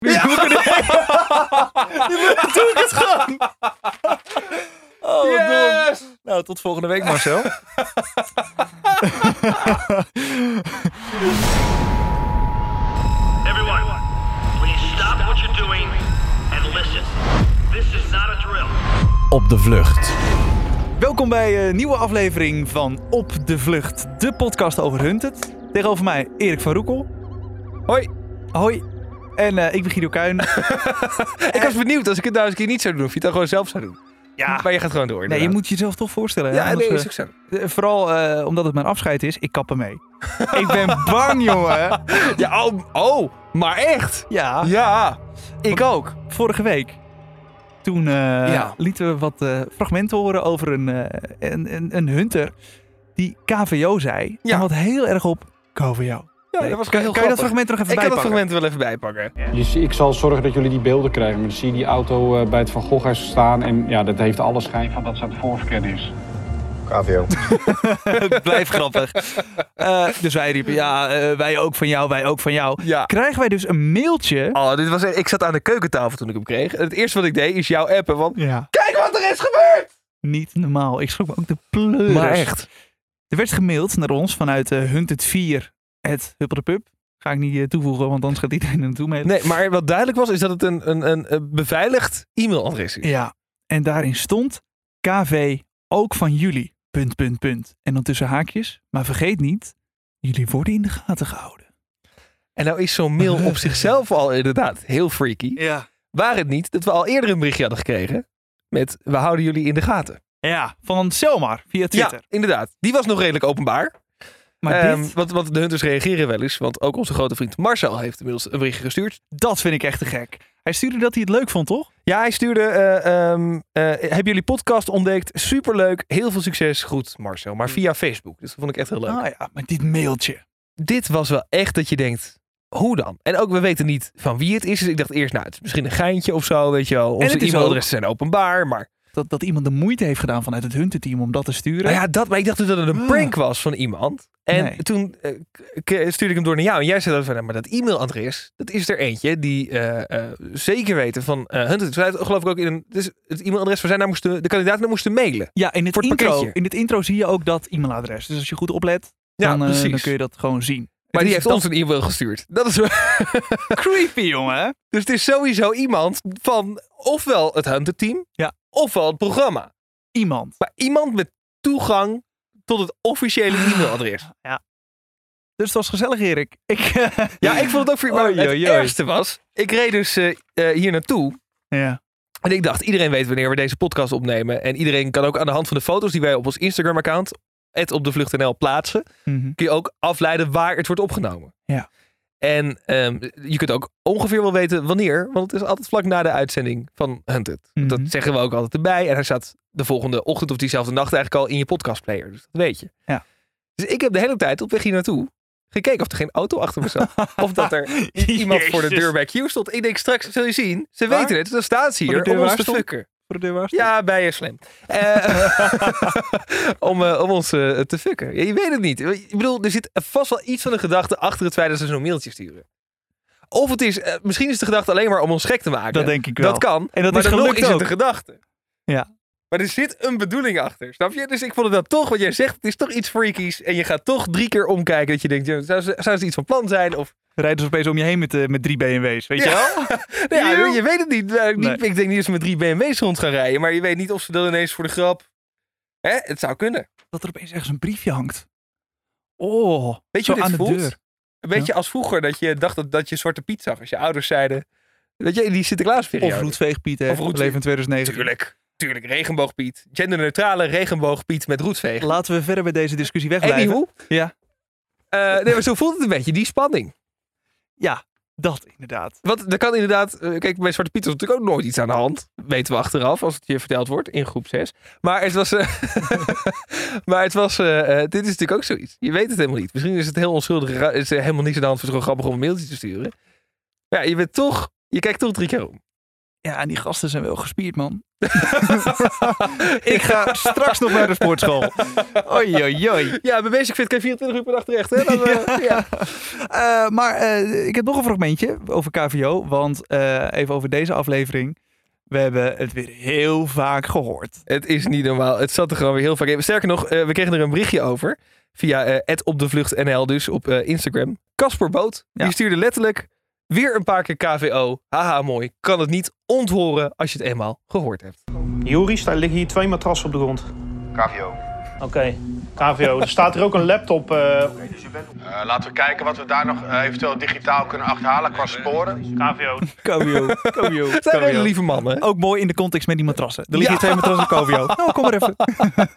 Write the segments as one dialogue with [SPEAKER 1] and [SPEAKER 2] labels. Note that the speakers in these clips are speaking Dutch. [SPEAKER 1] doe ik het gewoon. Oh, wat dom.
[SPEAKER 2] Yes!
[SPEAKER 1] Nou, tot volgende week, Marcel.
[SPEAKER 3] Everyone, please stop what you're doing and listen. This is not a drill.
[SPEAKER 1] Op de vlucht. Welkom bij
[SPEAKER 2] eh,
[SPEAKER 1] een nieuwe aflevering van Op de Vlucht, de podcast over Hunted. Tegenover mij Erik van Roekel.
[SPEAKER 2] Hoi.
[SPEAKER 1] Hoi. En eh, ik ben Guido Kuin.
[SPEAKER 2] Ik was benieuwd als ik het nou eens een keer niet zou doen, of je het dan gewoon zelf zou doen.
[SPEAKER 1] Ja.
[SPEAKER 2] Maar je gaat gewoon door.
[SPEAKER 1] Nee, je
[SPEAKER 2] inderdaad.
[SPEAKER 1] moet jezelf toch voorstellen. hè?
[SPEAKER 2] Ja,
[SPEAKER 1] Anders,
[SPEAKER 2] nee,
[SPEAKER 1] eh,
[SPEAKER 2] is ook zo.
[SPEAKER 1] Eh, Vooral eh, omdat het mijn afscheid is, ik kap ermee. ik ben bang, jongen.
[SPEAKER 2] Ja, oh, oh, maar echt?
[SPEAKER 1] Ja,
[SPEAKER 2] Ja, ik ook.
[SPEAKER 1] vorige week. Toen eh,
[SPEAKER 2] Ja.
[SPEAKER 1] lieten we wat eh, fragmenten horen over een, eh, een, een, een hunter die KVO zei.
[SPEAKER 2] Ja.
[SPEAKER 1] En wat heel erg op KVO.
[SPEAKER 2] Ja,
[SPEAKER 1] Nee,
[SPEAKER 2] dat was
[SPEAKER 1] kan,
[SPEAKER 2] heel
[SPEAKER 1] kan je dat
[SPEAKER 2] grappig.
[SPEAKER 1] fragment er nog even
[SPEAKER 2] Ik
[SPEAKER 1] bij pakken?
[SPEAKER 2] kan dat fragment er wel even bijpakken.
[SPEAKER 4] Je zie- ik zal zorgen dat jullie die beelden krijgen. Maar dan zie je die auto eh, bij het Van Goghuis staan. En ja, dat heeft alle schijn van dat ze aan het voorverkennen is.
[SPEAKER 5] KVO.
[SPEAKER 1] Blijf grappig. Eh, dus wij riepen, ja, eh, wij ook van jou, wij ook van jou.
[SPEAKER 2] Ja.
[SPEAKER 1] Krijgen wij dus een mailtje.
[SPEAKER 2] Oh, dit was, ik zat aan de keukentafel toen ik hem kreeg. En het eerste wat ik deed is jou appen, want
[SPEAKER 1] Ja.
[SPEAKER 2] kijk wat er is gebeurd! Dus-
[SPEAKER 1] Niet normaal. Ik schrok me ook de pleuris. Er werd gemaild naar ons vanuit eh Hunted 4, het Huppeldepup. Ga ik niet eh, toevoegen, want anders gaat iedereen er naartoe mailen.
[SPEAKER 2] Nee, maar wat duidelijk was, is dat het een, een, een, een beveiligd e-mailadres is.
[SPEAKER 1] Ja, en daarin stond KV ook van jullie, punt, punt, punt. En dan tussen haakjes, maar vergeet niet, jullie worden in de gaten gehouden.
[SPEAKER 2] En nou is zo'n mail op zichzelf al inderdaad heel freaky.
[SPEAKER 1] Ja.
[SPEAKER 2] Waar het niet dat we al eerder een berichtje hadden gekregen met we houden jullie in de gaten.
[SPEAKER 1] Ja, van Selmar via Twitter.
[SPEAKER 2] Ja, inderdaad. Die was nog redelijk openbaar.
[SPEAKER 1] Maar
[SPEAKER 2] Ehm,
[SPEAKER 1] dit,
[SPEAKER 2] want, want de hunters reageren wel eens. Want ook onze grote vriend Marcel heeft inmiddels een berichtje gestuurd.
[SPEAKER 1] dat vind ik echt te gek. Hij stuurde dat hij het leuk vond, toch?
[SPEAKER 2] Ja, hij stuurde, eh, ehm, eh, hebben jullie podcast ontdekt? Superleuk, heel veel succes. Goed, Marcel. Maar via Facebook. Dus dat vond ik echt heel leuk.
[SPEAKER 1] Mm. Ah ja, maar dit mailtje.
[SPEAKER 2] Dit was wel echt dat je denkt, hoe dan? En ook, we weten niet van wie het is. Dus ik dacht eerst, nou, het is misschien een geintje of zo, weet je wel. Onze
[SPEAKER 1] het is
[SPEAKER 2] e-mailadressen zijn openbaar, maar...
[SPEAKER 1] Dat, dat iemand de moeite heeft gedaan vanuit het Hunted-team om dat te sturen.
[SPEAKER 2] Nou ja, dat, maar ik dacht dus dat het een
[SPEAKER 1] Ah.
[SPEAKER 2] prank was van iemand. En
[SPEAKER 1] Nee.
[SPEAKER 2] toen eh, k- k- stuurde ik hem door naar jou. En jij zei dan van, nou, maar dat e-mailadres, dat is er eentje die eh, eh, zeker weten van eh Hunter. Dus wij hadden geloof ik ook in een, dus het e-mailadres waar zij naar moesten, de kandidaten naar moesten mailen.
[SPEAKER 1] Ja, in het,
[SPEAKER 2] Voor het
[SPEAKER 1] intro,
[SPEAKER 2] pakketje.
[SPEAKER 1] in het intro zie je ook dat e-mailadres. Dus als je goed oplet,
[SPEAKER 2] Ja,
[SPEAKER 1] dan, eh,
[SPEAKER 2] precies.
[SPEAKER 1] dan kun je dat gewoon zien.
[SPEAKER 2] Maar
[SPEAKER 1] Het
[SPEAKER 2] die
[SPEAKER 1] is
[SPEAKER 2] heeft
[SPEAKER 1] dat
[SPEAKER 2] ons een e-mail gestuurd. Dat is, wel-
[SPEAKER 1] creepy, jongen.
[SPEAKER 2] dus het is sowieso iemand van ofwel het Hunter team,
[SPEAKER 1] Ja.
[SPEAKER 2] ofwel het programma.
[SPEAKER 1] Iemand.
[SPEAKER 2] Maar iemand met toegang tot het officiële
[SPEAKER 1] Ah.
[SPEAKER 2] e-mailadres.
[SPEAKER 1] Dus het was gezellig, Erik. Ik, eh,
[SPEAKER 2] Ja, ik vond het ook voor maar
[SPEAKER 1] Oei,
[SPEAKER 2] het
[SPEAKER 1] oei, oei.
[SPEAKER 2] ergste was, ik reed dus eh, eh, hier naartoe.
[SPEAKER 1] ja.
[SPEAKER 2] En ik dacht, iedereen weet wanneer we deze podcast opnemen. En iedereen kan ook aan de hand van de foto's die wij op ons Instagram-account, op de vlucht.nl plaatsen,
[SPEAKER 1] Mhm.
[SPEAKER 2] kun je ook afleiden waar het wordt opgenomen.
[SPEAKER 1] Ja.
[SPEAKER 2] En ehm, je kunt ook ongeveer wel weten wanneer, want het is altijd vlak na de uitzending van Hunted. Dat
[SPEAKER 1] Mhm.
[SPEAKER 2] zeggen we ook altijd erbij. En hij staat de volgende ochtend of diezelfde nacht eigenlijk al in je podcastplayer. Dus dat weet je.
[SPEAKER 1] Ja.
[SPEAKER 2] Dus ik heb de hele tijd op weg hier naartoe gekeken of er geen auto achter me zat. of dat er i- iemand voor de
[SPEAKER 1] Jezus.
[SPEAKER 2] deur bij Q stond. Ik denk, straks zul je zien, ze
[SPEAKER 1] Waar?
[SPEAKER 2] weten het, dan staan ze
[SPEAKER 1] Voor de
[SPEAKER 2] hier
[SPEAKER 1] deur
[SPEAKER 2] om ons
[SPEAKER 1] waar
[SPEAKER 2] te
[SPEAKER 1] stond?
[SPEAKER 2] fucken.
[SPEAKER 1] Voor de deur waar staat.
[SPEAKER 2] Ja, bij je slim. Eh, om, eh, om ons eh, te fucken. Ja, je weet het niet. Ik bedoel, er zit vast wel iets van een gedachte achter het feit dat ze zo'n mailtje sturen. Of het is, eh, misschien is de gedachte alleen maar om ons gek te maken.
[SPEAKER 1] Dat denk ik wel.
[SPEAKER 2] Dat kan.
[SPEAKER 1] En dat
[SPEAKER 2] maar
[SPEAKER 1] is
[SPEAKER 2] dan nog
[SPEAKER 1] gelukt
[SPEAKER 2] is het
[SPEAKER 1] ook.
[SPEAKER 2] een gedachte.
[SPEAKER 1] Ja.
[SPEAKER 2] Maar er zit een bedoeling achter, snap je? Dus ik vond het dat toch, wat jij zegt, het is toch iets freakies. En je gaat toch drie keer omkijken dat je denkt, ja, zou ze, zou ze iets van plan zijn? Of,
[SPEAKER 1] Rijden ze opeens om je heen met, eh, met drie BMW's, weet je wel?
[SPEAKER 2] ja. Nou ja,
[SPEAKER 1] Joe.
[SPEAKER 2] je weet het niet. Nou, ik-
[SPEAKER 1] Nee.
[SPEAKER 2] Ik denk niet dat ze met drie BMW's rond gaan rijden. Maar je weet niet of ze dan ineens voor de grap... Hè? Het zou kunnen.
[SPEAKER 1] Dat er opeens ergens een briefje hangt. Oh,
[SPEAKER 2] Weet
[SPEAKER 1] zo
[SPEAKER 2] je hoe dit
[SPEAKER 1] aan de
[SPEAKER 2] voelt?
[SPEAKER 1] deur.
[SPEAKER 2] Een beetje als vroeger dat je dacht dat, dat je Zwarte Piet zag. Als je ouders zeiden... Weet je, in die Sinterklaasperiode.
[SPEAKER 1] Of roetveegpiet, hè?
[SPEAKER 2] Of roetveeg-
[SPEAKER 1] Leven in 2009.
[SPEAKER 2] Tuurlijk. Tuurlijk, regenboogpiet. Genderneutrale regenboogpiet met roetvegen.
[SPEAKER 1] Laten we verder bij deze discussie wegblijven.
[SPEAKER 2] Anywho.
[SPEAKER 1] Ja.
[SPEAKER 2] Eh, nee, maar zo voelt het een beetje, die spanning.
[SPEAKER 1] Ja, dat inderdaad.
[SPEAKER 2] Want er kan inderdaad... eh, Kijk, bij Zwarte Piet was natuurlijk ook nooit iets aan de hand. Weten we achteraf, als het je verteld wordt in groep 6. Maar het was... eh, maar het was... eh, eh, dit is natuurlijk ook zoiets. Je weet het helemaal niet. Misschien is het heel onschuldig. ra- Is er helemaal niks aan de hand. Het is gewoon grappig om een mailtje te sturen. Maar ja, je bent toch... Je kijkt toch drie keer om.
[SPEAKER 1] Ja, en die gasten zijn wel gespierd, man. ik ga straks nog naar de sportschool. Oei, oei, oei.
[SPEAKER 2] Ja, bij Basic Fit kan je 24 uur per dag terecht. Hè? Dan, eh, ja.
[SPEAKER 1] Eh, maar eh, ik heb nog een fragmentje over KVO. Want eh, even over deze aflevering. We hebben het weer heel vaak gehoord.
[SPEAKER 2] Het is niet normaal. Het zat er gewoon weer heel vaak in. Sterker nog, eh, we kregen er een berichtje over. Via eh @opdevluchtnl dus op eh, Instagram. Casper Boot,
[SPEAKER 1] Ja.
[SPEAKER 2] die stuurde letterlijk weer een paar keer KVO. Haha, mooi. Kan het niet onthoren als je het eenmaal gehoord hebt.
[SPEAKER 5] Joris, daar liggen hier twee matrassen op de grond.
[SPEAKER 6] KVO.
[SPEAKER 5] Oké. KVO. Er staat hier ook een laptop. eh,
[SPEAKER 6] Eh, laten we kijken wat we daar nog eh, eventueel digitaal kunnen achterhalen qua sporen.
[SPEAKER 5] KVO.
[SPEAKER 1] KVO, KVO,
[SPEAKER 2] Het zijn hele lieve mannen.
[SPEAKER 1] Ook mooi in de context met die matrassen. Er liggen hier twee matrassen op KVO. Nou, kom maar even.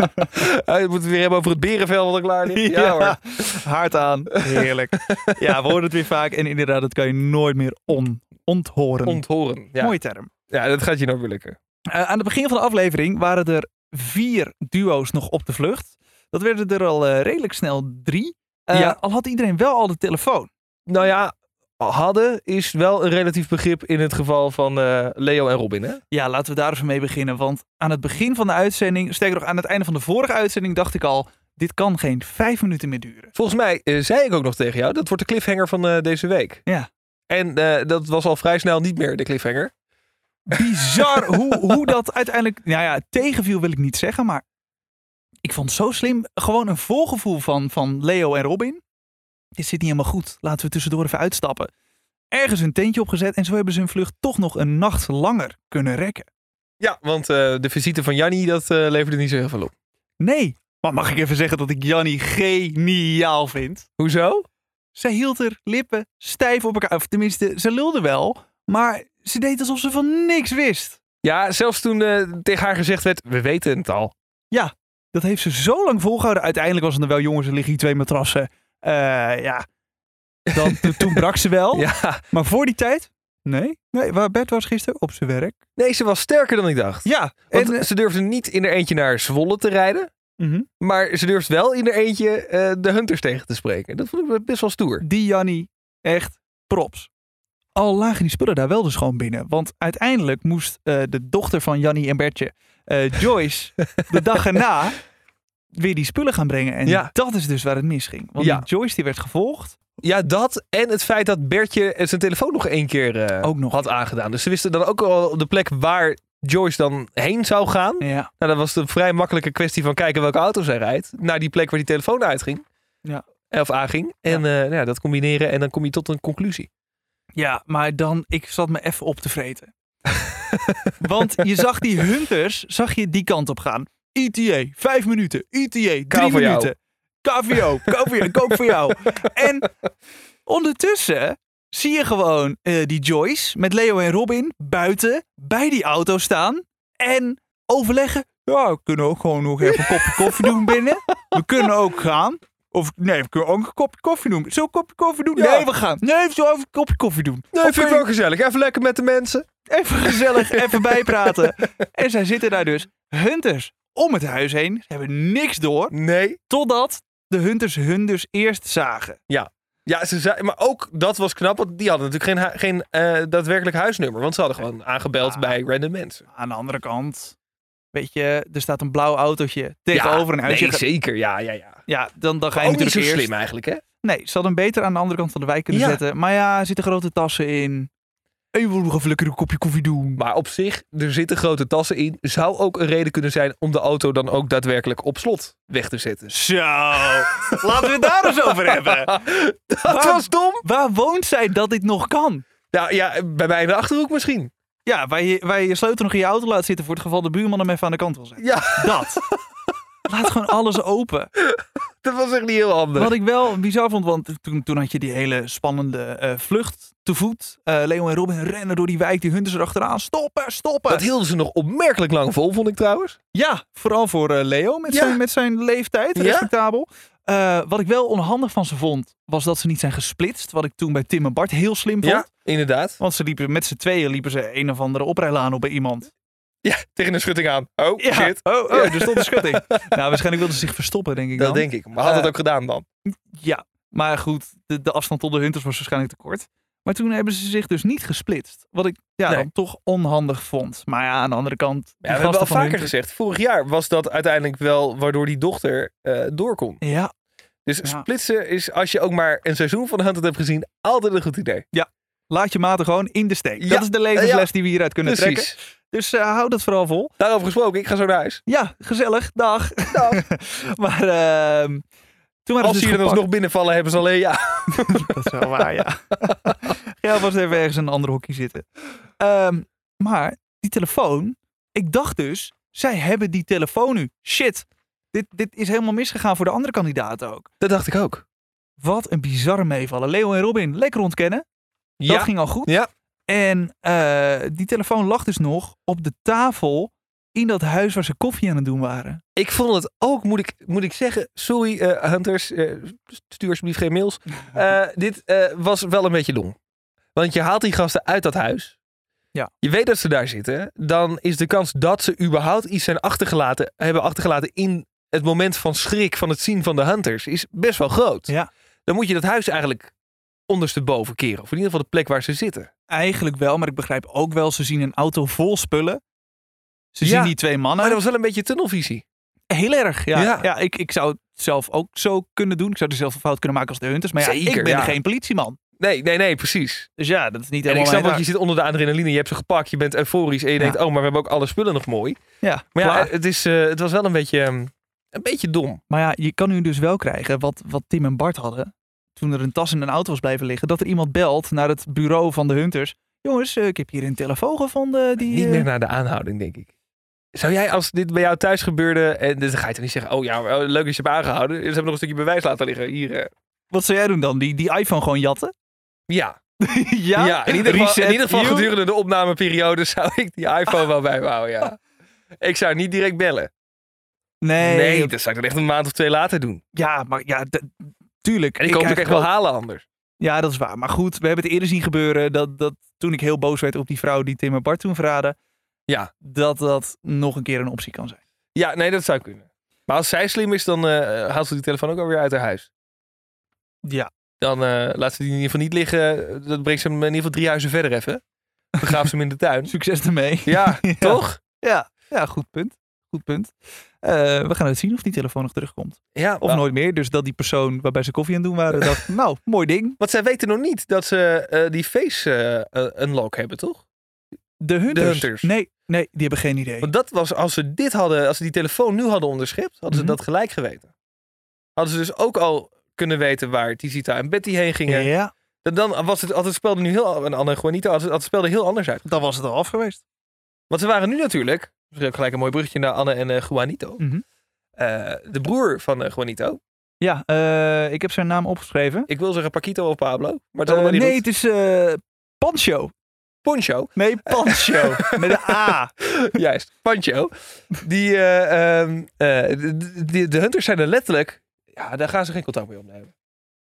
[SPEAKER 2] Hij moet het weer hebben over het berenvel wat er klaar ligt. Ja, hoor.
[SPEAKER 1] Haard aan. Heerlijk. Ja, we horen het weer vaak. En inderdaad, dat kan je nooit meer on, onthoren.
[SPEAKER 2] Onthoren. Ja.
[SPEAKER 1] Mooie term.
[SPEAKER 2] ja, dat gaat je nou weer lukken.
[SPEAKER 1] Eh, aan het begin van de aflevering waren er vier duo's nog op de vlucht. Dat werden er al eh, redelijk snel drie. Eh,
[SPEAKER 2] Ja.
[SPEAKER 1] Al had iedereen wel al de telefoon.
[SPEAKER 2] Nou ja, hadden is wel een relatief begrip in het geval van eh, Leo en Robin. Hè?
[SPEAKER 1] Ja, laten we daar even mee beginnen. Want aan het begin van de uitzending, sterker nog aan het einde van de vorige uitzending, dacht ik al, dit kan geen vijf minuten meer duren.
[SPEAKER 2] Volgens mij eh, zei ik ook nog tegen jou, dat wordt de cliffhanger van eh, deze week.
[SPEAKER 1] Ja.
[SPEAKER 2] En eh, dat was al vrij snel niet meer de cliffhanger.
[SPEAKER 1] Bizar hoe, hoe dat uiteindelijk, nou ja, tegenviel wil ik niet zeggen, maar ik vond het zo slim. Gewoon een voorgevoel van, van Leo en Robin. Dit zit niet helemaal goed, laten we tussendoor even uitstappen. Ergens een tentje opgezet en zo hebben ze hun vlucht toch nog een nacht langer kunnen rekken.
[SPEAKER 2] Ja, want eh, de visite van Janni, dat eh, leverde niet zo heel veel op.
[SPEAKER 1] Nee, maar mag ik even zeggen dat ik Jannie geniaal vind?
[SPEAKER 2] Hoezo?
[SPEAKER 1] Zij hield haar lippen stijf op elkaar. Of tenminste, ze lulde wel. Maar ze deed alsof ze van niks wist.
[SPEAKER 2] Ja, zelfs toen eh, tegen haar gezegd werd, we weten het al.
[SPEAKER 1] Dat heeft ze zo lang volgehouden. Uiteindelijk was het er wel, jongens, er liggen hier twee matrassen. Eh, ja. Dan, to- toen brak ze wel.
[SPEAKER 2] Ja.
[SPEAKER 1] Maar voor die tijd? Nee. Nee, waar Bert was gisteren? Op zijn werk.
[SPEAKER 2] Nee, ze was sterker dan ik dacht.
[SPEAKER 1] Ja.
[SPEAKER 2] Want
[SPEAKER 1] En, eh,
[SPEAKER 2] ze durfde niet in haar eentje naar Zwolle te rijden.
[SPEAKER 1] mhm.
[SPEAKER 2] Maar ze durft wel in haar eentje eh, de hunters tegen te spreken. Dat vond ik best wel stoer.
[SPEAKER 1] die Jannie echt props. Al lagen die spullen daar wel dus gewoon binnen. Want uiteindelijk moest eh, de dochter van Jannie en Bertje, eh, Joyce, de dag erna weer die spullen gaan brengen. En
[SPEAKER 2] Ja.
[SPEAKER 1] dat is dus waar het misging. Want
[SPEAKER 2] Ja.
[SPEAKER 1] die Joyce die werd gevolgd.
[SPEAKER 2] Ja, dat en het feit dat Bertje eh, zijn telefoon nog één keer eh,
[SPEAKER 1] Ook nog.
[SPEAKER 2] had aangedaan. Dus ze wisten dan ook al de plek waar Joyce dan heen zou gaan.
[SPEAKER 1] Ja.
[SPEAKER 2] Nou, dat was de vrij makkelijke kwestie van kijken welke auto zij rijdt. Naar die plek waar die telefoon uitging.
[SPEAKER 1] Ja.
[SPEAKER 2] Eh, Of aanging. En eh, nou ja, dat combineren en dan kom je tot een conclusie.
[SPEAKER 1] ja, maar dan, ik zat me even op te vreten. want je zag die hunters, zag je die kant op gaan. ETA, vijf minuten. ETA, drie
[SPEAKER 2] voor jou.
[SPEAKER 1] minuten. KVO, koop voor jou, koop voor jou. En ondertussen zie je gewoon eh, die Joyce met Leo en Robin buiten bij die auto staan en overleggen. Ja, we kunnen ook gewoon nog even een kopje koffie doen binnen. We kunnen ook gaan. Of nee, we kunnen ook een kopje koffie doen. Zullen we een kopje koffie doen?
[SPEAKER 2] Ja.
[SPEAKER 1] Nee, we gaan. Nee, we zullen even een kopje koffie doen.
[SPEAKER 2] Nee,
[SPEAKER 1] Of
[SPEAKER 2] vind ik
[SPEAKER 1] kun
[SPEAKER 2] wel gezellig. Even lekker met de mensen.
[SPEAKER 1] je Even gezellig, even bijpraten. En zij zitten daar dus, hunters, om het huis heen. Ze hebben niks door.
[SPEAKER 2] Nee.
[SPEAKER 1] Totdat de hunters hun dus eerst zagen.
[SPEAKER 2] Ja, ze zei, maar ook dat was knap, want die hadden natuurlijk geen, hu- geen eh, daadwerkelijk huisnummer. Want ze hadden gewoon aangebeld
[SPEAKER 1] Ah.
[SPEAKER 2] bij random mensen.
[SPEAKER 1] Aan de andere kant, weet je, er staat een blauw autootje tegenover een huisje.
[SPEAKER 2] Nee, zeker. Ja, ja, ja.
[SPEAKER 1] ja, dan, dan ga je
[SPEAKER 2] Ook niet
[SPEAKER 1] natuurlijk
[SPEAKER 2] zo
[SPEAKER 1] eerst.
[SPEAKER 2] slim eigenlijk, hè?
[SPEAKER 1] Nee, ze hadden hem beter aan de andere kant van de wijk kunnen
[SPEAKER 2] Ja.
[SPEAKER 1] zetten. Maar ja, er zitten grote tassen in. En je wil nog even lekker een kopje koffie doen.
[SPEAKER 2] Maar op zich, er zitten grote tassen in. Zou ook een reden kunnen zijn om de auto dan ook daadwerkelijk op slot weg te zetten.
[SPEAKER 1] Zo, laten we het daar eens over hebben.
[SPEAKER 2] Dat
[SPEAKER 1] Waar-
[SPEAKER 2] was dom.
[SPEAKER 1] Waar woont zij dat dit nog kan?
[SPEAKER 2] Nou ja, bij mij in de achterhoek misschien.
[SPEAKER 1] Ja, waar je, waar je je sleutel nog in je auto laat zitten voor het geval de buurman hem even aan de kant wil zetten.
[SPEAKER 2] Ja.
[SPEAKER 1] Dat. Laat gewoon alles open.
[SPEAKER 2] Dat was echt niet heel handig.
[SPEAKER 1] Wat ik wel bizar vond, want toen, toen had je die hele spannende eh, vlucht te voet. Eh, Leon en Robin rennen door die wijk, die hunters erachteraan. Stoppen, stoppen!
[SPEAKER 2] Dat hielden ze nog opmerkelijk lang vol, vond ik trouwens.
[SPEAKER 1] Ja, vooral voor eh, Leo met,
[SPEAKER 2] Ja.
[SPEAKER 1] zijn, met zijn leeftijd,
[SPEAKER 2] Ja.
[SPEAKER 1] respectabel. Eh, wat ik wel onhandig van ze vond, was dat ze niet zijn gesplitst. Wat ik toen bij Tim en Bart heel slim vond.
[SPEAKER 2] inderdaad.
[SPEAKER 1] Want ze liepen met z'n tweeën liepen ze een of andere oprijlaan op bij iemand.
[SPEAKER 2] Ja, tegen een schutting aan. Oh,
[SPEAKER 1] Ja.
[SPEAKER 2] shit.
[SPEAKER 1] Oh, oh, er stond een schutting. nou, waarschijnlijk wilden ze zich verstoppen, denk ik
[SPEAKER 2] Dat
[SPEAKER 1] dan.
[SPEAKER 2] denk ik. Maar had dat
[SPEAKER 1] Eh,
[SPEAKER 2] ook gedaan dan?
[SPEAKER 1] Ja, maar goed, de, de afstand tot de hunters was waarschijnlijk te kort. Maar toen hebben ze zich dus niet gesplitst. Wat ik ja,
[SPEAKER 2] Nee.
[SPEAKER 1] dan toch onhandig vond. Maar ja, aan de andere kant. die
[SPEAKER 2] Ja, we hebben
[SPEAKER 1] gasten
[SPEAKER 2] al
[SPEAKER 1] van hun-
[SPEAKER 2] vaker gezegd. Vorig jaar was dat uiteindelijk wel waardoor die dochter eh, door kon.
[SPEAKER 1] Ja,
[SPEAKER 2] Dus
[SPEAKER 1] Ja.
[SPEAKER 2] splitsen is, als je ook maar een seizoen van Hunted hebt gezien, altijd een goed idee.
[SPEAKER 1] laat je maten gewoon in de steek.
[SPEAKER 2] Ja,
[SPEAKER 1] Dat is de levensles
[SPEAKER 2] ja.
[SPEAKER 1] die we hieruit kunnen trekken.
[SPEAKER 2] Precies.
[SPEAKER 1] Dus eh, hou dat vooral vol.
[SPEAKER 2] Daarover gesproken, ik ga zo naar huis.
[SPEAKER 1] Ja, gezellig. Dag. maar ehm, toen waren
[SPEAKER 2] Als
[SPEAKER 1] ze dus
[SPEAKER 2] ze je dan
[SPEAKER 1] gepakt.
[SPEAKER 2] alsnog binnenvallen, hebben ze alleen ja.
[SPEAKER 1] Dat is wel waar, ja. Ga alvast even ergens in een ander hokje zitten. Ehm, maar die telefoon, ik dacht dus, zij hebben die telefoon nu. Shit, dit, dit is helemaal misgegaan voor de andere kandidaten ook.
[SPEAKER 2] Dat dacht ik ook.
[SPEAKER 1] Wat een bizarre meevallen. Leo en Robin, lekker ontkennen. Dat ging al goed.
[SPEAKER 2] Ja.
[SPEAKER 1] En eh, die telefoon lag dus nog op de tafel in dat huis waar ze koffie aan het doen waren.
[SPEAKER 2] Ik vond het ook, moet ik, moet ik zeggen, sorry eh, Hunters, eh, stuur alsjeblieft geen mails. Eh, dit eh, was wel een beetje dom. Want je haalt die gasten uit dat huis.
[SPEAKER 1] Ja.
[SPEAKER 2] Je weet dat ze daar zitten. Dan is de kans dat ze überhaupt iets zijn achtergelaten, hebben achtergelaten in het moment van schrik van het zien van de Hunters, is best wel groot.
[SPEAKER 1] Ja.
[SPEAKER 2] Dan moet je dat huis eigenlijk ondersteboven keren. Of in ieder geval de plek waar ze zitten.
[SPEAKER 1] Eigenlijk wel, maar ik begrijp ook wel, ze zien een auto vol spullen. Ze
[SPEAKER 2] Ja,
[SPEAKER 1] zien die twee mannen.
[SPEAKER 2] Maar dat was wel een beetje tunnelvisie.
[SPEAKER 1] Heel erg, ja.
[SPEAKER 2] Ja.
[SPEAKER 1] ja. ik, ik zou het zelf ook zo kunnen doen. Ik zou dezelfde fout kunnen maken als de Hunters. Maar ja,
[SPEAKER 2] Zeker,
[SPEAKER 1] ik ben
[SPEAKER 2] ja.
[SPEAKER 1] geen politieman.
[SPEAKER 2] Nee, nee, nee, precies.
[SPEAKER 1] Dus ja, dat is niet
[SPEAKER 2] En ik
[SPEAKER 1] helemaal
[SPEAKER 2] snap,
[SPEAKER 1] mijn
[SPEAKER 2] want je zit onder de adrenaline, je hebt ze gepakt, je bent euforisch en je denkt, oh, maar we hebben ook alle spullen nog mooi.
[SPEAKER 1] taak. Ja,
[SPEAKER 2] Maar
[SPEAKER 1] klaar.
[SPEAKER 2] ja, het, is, eh, het was wel een beetje, ehm, een beetje dom.
[SPEAKER 1] maar ja, je kan nu dus wel krijgen wat, wat Tim en Bart hadden. Toen er een tas in een auto was blijven liggen. Dat er iemand belt naar het bureau van de Hunters. Jongens, eh, ik heb hier een telefoon gevonden. Die,
[SPEAKER 2] Niet
[SPEAKER 1] eh,
[SPEAKER 2] meer naar de aanhouding, denk ik. Zou jij, als dit bij jou thuis gebeurde, en dus dan ga je toch niet zeggen, oh ja, maar, oh, leuk dat je hebt aangehouden. Ze hebben nog een stukje bewijs laten liggen hier. eh.
[SPEAKER 1] Wat zou jij doen dan? Die, die iPhone gewoon jatten?
[SPEAKER 2] Ja,
[SPEAKER 1] ja,
[SPEAKER 2] ja, in ieder geval,
[SPEAKER 1] reset,
[SPEAKER 2] in ieder geval
[SPEAKER 1] you.
[SPEAKER 2] gedurende de opnameperiode zou ik die iPhone wel bij me houden, ja. Ik zou niet direct bellen.
[SPEAKER 1] Nee,
[SPEAKER 2] Nee, dat zou ik dan echt een maand of twee later doen.
[SPEAKER 1] ja, maar ja, d- tuurlijk.
[SPEAKER 2] En ik, hoop dat ik
[SPEAKER 1] krijg
[SPEAKER 2] echt wel halen anders.
[SPEAKER 1] Ja, dat is waar. Maar goed, we hebben het eerder zien gebeuren dat, dat toen ik heel boos werd op die vrouw die Tim en Bart toen verraden,
[SPEAKER 2] Ja.
[SPEAKER 1] dat dat nog een keer een optie kan zijn.
[SPEAKER 2] Ja, nee, dat zou kunnen. Maar als zij slim is, dan eh, haalt ze die telefoon ook alweer uit haar huis.
[SPEAKER 1] Ja.
[SPEAKER 2] Dan eh, laat ze die in ieder geval niet liggen. Dat brengt ze hem in ieder geval drie huizen verder even. Begraaf ze hem in de tuin.
[SPEAKER 1] Succes ermee.
[SPEAKER 2] Ja, toch?
[SPEAKER 1] Ja, ja goed punt. Goed punt. Eh, we gaan het zien of die telefoon nog terugkomt.
[SPEAKER 2] Ja,
[SPEAKER 1] Of nooit meer. Dus dat die persoon waarbij ze koffie aan het doen waren, dacht, nou, mooi ding.
[SPEAKER 2] Want zij weten nog niet dat ze eh, die face eh, eh, unlock hebben, toch?
[SPEAKER 1] De hunters.
[SPEAKER 2] Hunters.
[SPEAKER 1] Nee, nee, die hebben geen idee.
[SPEAKER 2] Want dat was, als ze dit hadden, als ze die telefoon nu hadden onderschept, hadden
[SPEAKER 1] Mhm.
[SPEAKER 2] ze dat gelijk geweten. Hadden ze dus ook al kunnen weten waar Tizita en Betty heen gingen.
[SPEAKER 1] Ja,
[SPEAKER 2] Dan- Dan was het, had het spel er nu heel, en Anne Juanita, had het, had het spel er heel anders uit.
[SPEAKER 1] dan was het al af geweest.
[SPEAKER 2] Want ze waren nu natuurlijk, misschien ook gelijk een mooi bruggetje naar Anne en eh, Juanito.
[SPEAKER 1] Mhm.
[SPEAKER 2] Eh, de broer van eh, Juanito.
[SPEAKER 1] Ja, eh, ik heb zijn naam opgeschreven.
[SPEAKER 2] Ik wil zeggen Paquito of Pablo, maar het is
[SPEAKER 1] Eh,
[SPEAKER 2] allemaal niet
[SPEAKER 1] nee,
[SPEAKER 2] goed.
[SPEAKER 1] het is eh, Pancho.
[SPEAKER 2] Poncho,
[SPEAKER 1] Nee, Pancho. Met een A.
[SPEAKER 2] juist, Poncho. Die, eh, ehm, eh, de- de, de- de hunters zijn er letterlijk, ja, daar gaan ze geen contact mee opnemen.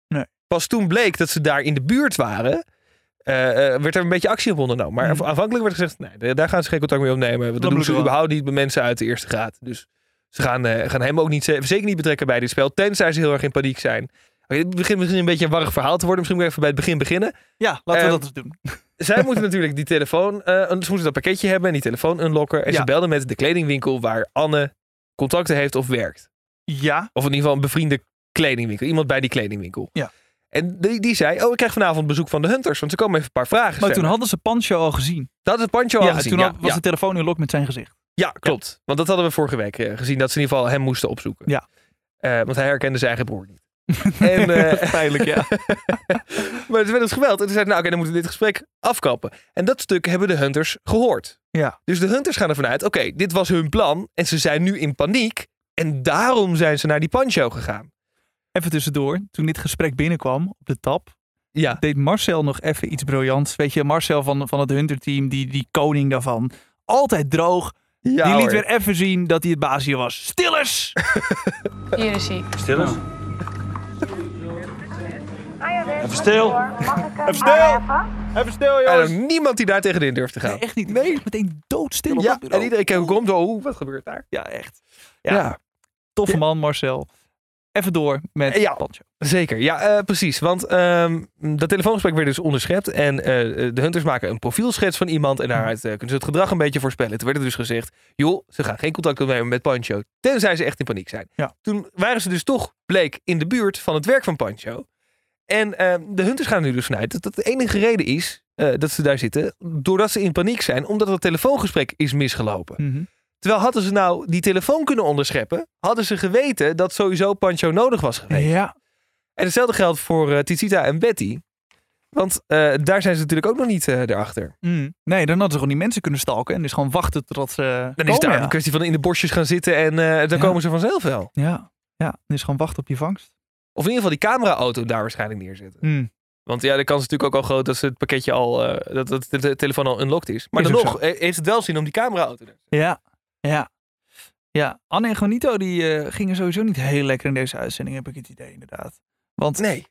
[SPEAKER 1] Nee.
[SPEAKER 2] Pas toen bleek dat ze daar in de buurt waren, eh, eh, werd er een beetje actie op ondernomen. Maar
[SPEAKER 1] Mhm.
[SPEAKER 2] aanvankelijk werd gezegd, nee, da- daar gaan ze geen contact mee opnemen. want Dat doen
[SPEAKER 1] bloeien
[SPEAKER 2] ze
[SPEAKER 1] we.
[SPEAKER 2] überhaupt niet bij mensen uit de eerste graad. Dus ze gaan, eh, gaan hem ook niet, ze- zeker niet betrekken bij dit spel, tenzij ze heel erg in paniek zijn. Oké, dit begint misschien een beetje een warrig verhaal te worden. Misschien moet ik even bij het begin beginnen
[SPEAKER 1] Ja, laten we
[SPEAKER 2] Ehm,
[SPEAKER 1] dat eens doen.
[SPEAKER 2] zij moeten natuurlijk die telefoon, eh, ze moeten dat pakketje hebben en die telefoon unlocken. En
[SPEAKER 1] Ja.
[SPEAKER 2] ze belden met de kledingwinkel waar Anne contacten heeft of werkt.
[SPEAKER 1] Ja,
[SPEAKER 2] Of in ieder geval een bevriende kledingwinkel. Iemand bij die kledingwinkel.
[SPEAKER 1] Ja.
[SPEAKER 2] En die, die zei, oh ik krijg vanavond bezoek van de Hunters, want ze komen even een paar vragen
[SPEAKER 1] maar toen
[SPEAKER 2] stellen.
[SPEAKER 1] hadden ze Pancho al gezien.
[SPEAKER 2] dat is het Pancho al
[SPEAKER 1] ja,
[SPEAKER 2] gezien.
[SPEAKER 1] toen
[SPEAKER 2] ja,
[SPEAKER 1] had- was
[SPEAKER 2] ja.
[SPEAKER 1] de telefoon in lok met zijn gezicht.
[SPEAKER 2] Ja, klopt. Want dat hadden we vorige week eh, gezien, dat ze in ieder geval hem moesten opzoeken.
[SPEAKER 1] Ja.
[SPEAKER 2] Eh, want hij herkende zijn eigen broer niet. en, eh,
[SPEAKER 1] Pijnlijk, ja.
[SPEAKER 2] maar het werd het geweld. En toen zei ze, nou oké, dan moeten we dit gesprek afkappen. En dat stuk hebben de Hunters gehoord.
[SPEAKER 1] Ja.
[SPEAKER 2] Dus de hunters gaan ervan uit, oké, dit was hun plan en ze zijn nu in paniek. En daarom zijn ze naar die pancho gegaan.
[SPEAKER 1] Even tussendoor, toen dit gesprek binnenkwam op de tap,
[SPEAKER 2] Ja.
[SPEAKER 1] deed Marcel nog even iets briljants. Weet je, Marcel van, van het Hunter-team, die, die koning daarvan. Altijd droog.
[SPEAKER 2] ja
[SPEAKER 1] die liet
[SPEAKER 2] hoor.
[SPEAKER 1] weer even zien dat hij het baas hier was. Stillers!
[SPEAKER 7] Hier is hij.
[SPEAKER 8] Even stil. Even
[SPEAKER 5] stil. Even stil,
[SPEAKER 2] En
[SPEAKER 5] jongens.
[SPEAKER 2] er was niemand die daar tegenin durft te gaan.
[SPEAKER 1] echt niet. Nee. Meteen doodstil op
[SPEAKER 2] ja,
[SPEAKER 1] dat bureau.
[SPEAKER 2] en iedereen kijkt ook om, zo, oh, wat gebeurt daar?
[SPEAKER 1] Ja, echt. Ja. Toffe man, Marcel. even door met
[SPEAKER 2] Ja.
[SPEAKER 1] Pancho.
[SPEAKER 2] Zeker, ja, eh, precies. Want ehm, dat telefoongesprek werd dus onderschept. En eh, de hunters maken een profielschets van iemand. En daaruit eh, kunnen ze het gedrag een beetje voorspellen. Toen werd er dus gezegd: joh, ze gaan geen contact opnemen met Pancho. Tenzij ze echt in paniek zijn.
[SPEAKER 1] Ja.
[SPEAKER 2] Toen waren ze dus toch, bleek, in de buurt van het werk van Pancho. En ehm, de hunters gaan er nu dus vanuit dat dat de enige reden is eh, dat ze daar zitten. Doordat ze in paniek zijn, omdat het telefoongesprek is misgelopen.
[SPEAKER 1] Mhm.
[SPEAKER 2] Terwijl hadden ze nou die telefoon kunnen onderscheppen, hadden ze geweten dat sowieso Pancho nodig was geweest.
[SPEAKER 1] Ja,
[SPEAKER 2] En hetzelfde geldt voor eh Tizita en Betty. Want eh, daar zijn ze natuurlijk ook nog niet eh erachter.
[SPEAKER 1] Mm. Nee, dan hadden ze gewoon die mensen kunnen stalken en dus gewoon wachten totdat ze
[SPEAKER 2] Dan
[SPEAKER 1] komen,
[SPEAKER 2] is daar
[SPEAKER 1] ja.
[SPEAKER 2] een kwestie van in de bosjes gaan zitten en eh, dan
[SPEAKER 1] Ja.
[SPEAKER 2] komen ze vanzelf wel.
[SPEAKER 1] Ja, ja. Dan is gewoon wachten op die vangst.
[SPEAKER 2] Of in ieder geval die cameraauto daar waarschijnlijk neerzetten.
[SPEAKER 1] Mm.
[SPEAKER 2] Want ja, de kans is natuurlijk ook al groot dat ze het pakketje al, eh, dat, dat de telefoon al unlocked is. Maar
[SPEAKER 1] Is
[SPEAKER 2] dan
[SPEAKER 1] ook
[SPEAKER 2] nog, eh, heeft het wel zin om die cameraauto te
[SPEAKER 1] Ja, ja. Ja, Anne en Juanito die eh, gingen sowieso niet heel lekker in deze uitzending, heb ik het idee inderdaad. Want
[SPEAKER 2] Nee,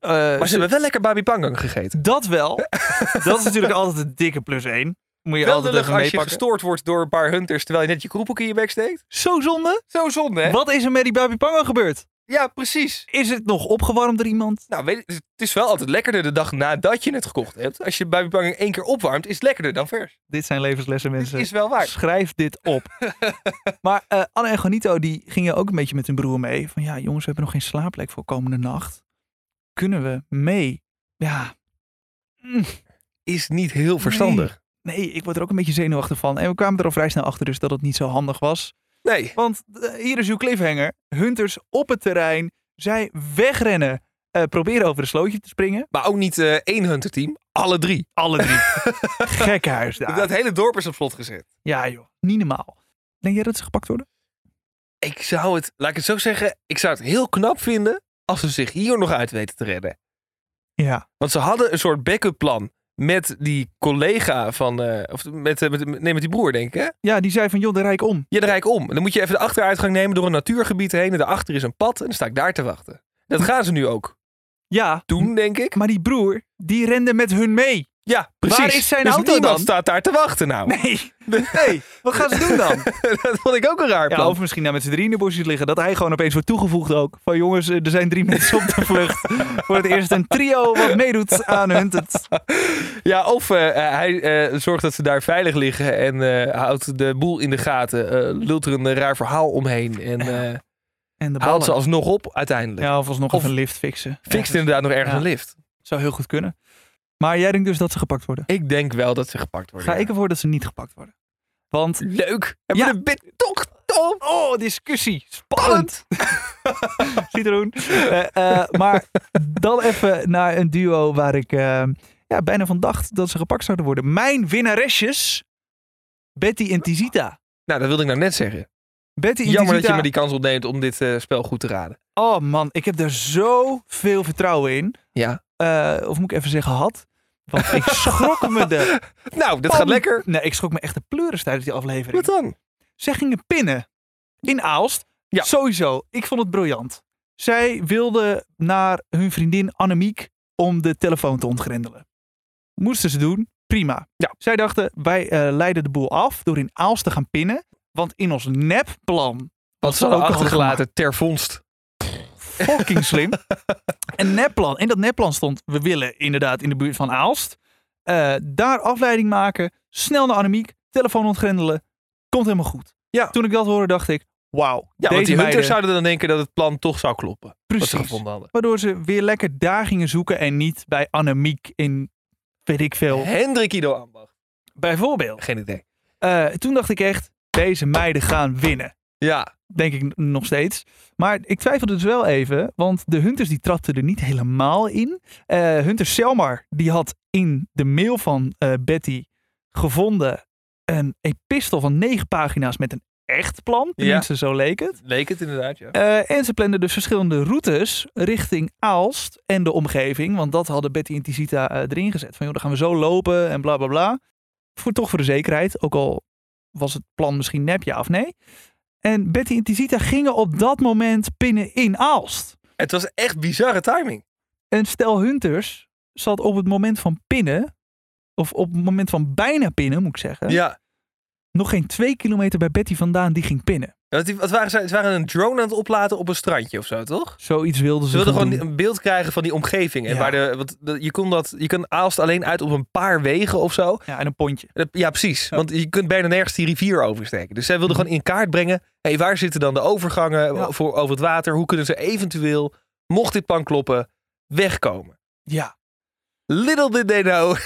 [SPEAKER 1] eh,
[SPEAKER 2] maar ze
[SPEAKER 1] ze-
[SPEAKER 2] hebben wel lekker Babi Pangang gegeten.
[SPEAKER 1] dat wel, dat is natuurlijk altijd een dikke plus één. Moet je
[SPEAKER 2] Wel
[SPEAKER 1] altijd
[SPEAKER 2] lullig
[SPEAKER 1] even
[SPEAKER 2] als je
[SPEAKER 1] meepakken.
[SPEAKER 2] gestoord wordt door een paar hunters terwijl je net je kroephoek in je bek steekt.
[SPEAKER 1] Zo zonde.
[SPEAKER 2] Zo zonde, hè?
[SPEAKER 1] Wat is er met die Babi Pango gebeurd?
[SPEAKER 2] Ja, precies.
[SPEAKER 1] Is het nog opgewarmd door iemand?
[SPEAKER 2] Nou, weet, het is wel altijd lekkerder de dag nadat je het gekocht hebt. Als je bij verpakking één keer opwarmt, is het lekkerder dan vers.
[SPEAKER 1] Dit zijn levenslessen,
[SPEAKER 2] Dit
[SPEAKER 1] mensen.
[SPEAKER 2] is wel waar.
[SPEAKER 1] Schrijf dit op. maar eh, Anne en Juanito die gingen ook een beetje met hun broer mee. Van ja, jongens, we hebben nog geen slaapplek voor komende nacht. Kunnen we mee? Ja,
[SPEAKER 2] Is niet heel
[SPEAKER 1] verstandig. nee, ik word er ook een beetje zenuwachtig van. En we kwamen er al vrij snel achter dus dat het niet zo handig was.
[SPEAKER 2] Nee.
[SPEAKER 1] Want eh, hier is uw cliffhanger. Hunters op het terrein. Zij wegrennen. eh, proberen over een slootje te springen.
[SPEAKER 2] Maar ook niet eh, één hunterteam. Alle drie.
[SPEAKER 1] Alle drie. Gekkenhuis daar.
[SPEAKER 2] Dat hele dorp is op slot gezet.
[SPEAKER 1] Ja joh, niet normaal. Denk jij dat ze gepakt worden?
[SPEAKER 2] Ik zou het, laat ik het zo zeggen, ik zou het heel knap vinden als ze zich hier nog uit weten te redden.
[SPEAKER 1] Ja.
[SPEAKER 2] Want ze hadden een soort backup plan met die collega van, eh, of met, eh, met, nee, met die broer denk ik hè?
[SPEAKER 1] Ja, die zei van joh, de rijk om.
[SPEAKER 2] Ja, de rijk om. Dan moet je even de achteruitgang nemen door een natuurgebied heen en daarachter is een pad en dan sta ik daar te wachten. Dat gaan ze nu ook
[SPEAKER 1] Ja,
[SPEAKER 2] doen, denk ik.
[SPEAKER 1] maar die broer, die rende met hun mee.
[SPEAKER 2] Hm. Ja, precies.
[SPEAKER 1] Waar is zijn
[SPEAKER 2] dus
[SPEAKER 1] auto
[SPEAKER 2] niemand
[SPEAKER 1] dan?
[SPEAKER 2] staat daar te wachten nou.
[SPEAKER 1] Nee, nee. wat gaan ze doen dan?
[SPEAKER 2] dat vond ik ook een raar
[SPEAKER 1] Ja,
[SPEAKER 2] plan.
[SPEAKER 1] of misschien nou met z'n drieën in de bosjes liggen. Dat hij gewoon opeens wordt toegevoegd ook. Van jongens, eh, er zijn drie mensen op de vlucht. Voor het eerst een trio wat meedoet aan Hunted.
[SPEAKER 2] Ja, of eh, hij eh, zorgt dat ze daar veilig liggen en eh, houdt de boel in de gaten. eh, lult er een raar verhaal omheen en eh,
[SPEAKER 1] En de
[SPEAKER 2] haalt ze
[SPEAKER 1] ballen.
[SPEAKER 2] alsnog op uiteindelijk.
[SPEAKER 1] Ja, of alsnog
[SPEAKER 2] Of-
[SPEAKER 1] even een lift fixen.
[SPEAKER 2] Fixt
[SPEAKER 1] Ergens.
[SPEAKER 2] inderdaad nog ergens
[SPEAKER 1] Ja.
[SPEAKER 2] een lift.
[SPEAKER 1] Zou heel goed kunnen. Maar jij denkt dus dat ze gepakt worden.
[SPEAKER 2] Ik denk wel dat ze gepakt worden.
[SPEAKER 1] Ga
[SPEAKER 2] Oh, ja.
[SPEAKER 1] ik ervoor dat ze niet gepakt worden. Want,
[SPEAKER 2] Leuk. Hebben
[SPEAKER 1] Ja.
[SPEAKER 2] we een bit toch? toch?
[SPEAKER 1] oh, discussie. Spannend. citroen. Eh, eh, maar dan even naar een duo waar ik eh, ja, bijna van dacht dat ze gepakt zouden worden. Mijn winnaresjes, Betty en Tizita.
[SPEAKER 2] Nou, dat wilde ik nou net zeggen.
[SPEAKER 1] Betty en
[SPEAKER 2] Jammer dat je
[SPEAKER 1] Tizita.
[SPEAKER 2] me die kans ontneemt om dit eh, spel goed te raden.
[SPEAKER 1] Oh man, ik heb daar zoveel vertrouwen in.
[SPEAKER 2] Ja.
[SPEAKER 1] Eh, of moet ik even zeggen had. Want ik schrok me de...
[SPEAKER 2] Nou, dat gaat lekker.
[SPEAKER 1] Nee, ik schrok me echt de pleuris tijdens die aflevering.
[SPEAKER 2] Wat dan?
[SPEAKER 1] Zij gingen pinnen in Aalst.
[SPEAKER 2] Ja.
[SPEAKER 1] Sowieso. Ik vond het briljant. Zij wilden naar hun vriendin Annemiek om de telefoon te ontgrendelen. Moesten ze doen. Prima.
[SPEAKER 2] Ja.
[SPEAKER 1] Zij dachten, wij eh, leiden de boel af door in Aalst te gaan pinnen. Want in ons nepplan,
[SPEAKER 2] Wat ze
[SPEAKER 1] hadden
[SPEAKER 2] hadden
[SPEAKER 1] gemaakt.
[SPEAKER 2] achtergelaten ter vondst.
[SPEAKER 1] fucking slim, een nepplan. In dat nepplan stond, we willen inderdaad in de buurt van Aalst. eh, daar afleiding maken, snel naar Annemiek, telefoon ontgrendelen. Komt helemaal goed.
[SPEAKER 2] Ja.
[SPEAKER 1] Toen ik dat hoorde, dacht ik, wauw.
[SPEAKER 2] Ja, want
[SPEAKER 1] deze
[SPEAKER 2] die hunters
[SPEAKER 1] meiden-
[SPEAKER 2] zouden dan denken dat het plan toch zou kloppen. Wat ze
[SPEAKER 1] Precies.
[SPEAKER 2] gevonden hadden.
[SPEAKER 1] Waardoor ze weer lekker daar gingen zoeken en niet bij Annemiek in weet ik veel.
[SPEAKER 2] Hendrik Ido Ambacht.
[SPEAKER 1] Bijvoorbeeld.
[SPEAKER 2] Geen idee.
[SPEAKER 1] Eh, toen dacht ik echt, deze meiden gaan winnen.
[SPEAKER 2] Ja,
[SPEAKER 1] Denk ik n- nog steeds. Maar ik twijfelde dus wel even, want de Hunters die trapten er niet helemaal in. Eh Hunter Selmar die had in de mail van eh, Betty gevonden een epistel van negen pagina's met een echt plan. Tenminste, zo leek het.
[SPEAKER 2] leek het inderdaad, ja.
[SPEAKER 1] Eh, en ze plannen dus verschillende routes richting Aalst en de omgeving. Want dat hadden Betty en Tizita eh, erin gezet. Van joh, dan gaan we zo lopen en bla bla bla. Voor, toch voor de zekerheid, ook al was het plan misschien nep, ja of nee. En Betty en Tizita gingen op dat moment pinnen in Aalst.
[SPEAKER 2] Het was echt bizarre timing.
[SPEAKER 1] En stel Hunters zat op het moment van pinnen, of op het moment van bijna pinnen moet ik zeggen,
[SPEAKER 2] Ja,
[SPEAKER 1] nog geen twee kilometer bij Betty vandaan, die ging pinnen.
[SPEAKER 2] Ja, want die- Wat waren ze, ze waren een drone aan het oplaten op een strandje of zo, toch?
[SPEAKER 1] Zoiets wilden
[SPEAKER 2] Ze
[SPEAKER 1] ze,
[SPEAKER 2] wilden
[SPEAKER 1] gaan
[SPEAKER 2] gewoon
[SPEAKER 1] doen.
[SPEAKER 2] een beeld krijgen van die omgeving. En
[SPEAKER 1] Ja.
[SPEAKER 2] waar de, want de- je, kon dat, je kan Aalst alleen uit op een paar wegen of zo.
[SPEAKER 1] Ja, en een pontje.
[SPEAKER 2] Dat- Ja, precies. Want je kunt bijna nergens die rivier oversteken. Dus zij wilden gewoon in kaart brengen. Hé, waar zitten dan de overgangen
[SPEAKER 1] Ja.
[SPEAKER 2] voor, over het water? Hoe kunnen ze eventueel, mocht dit pan kloppen, wegkomen?
[SPEAKER 1] Ja,
[SPEAKER 2] Little did they know.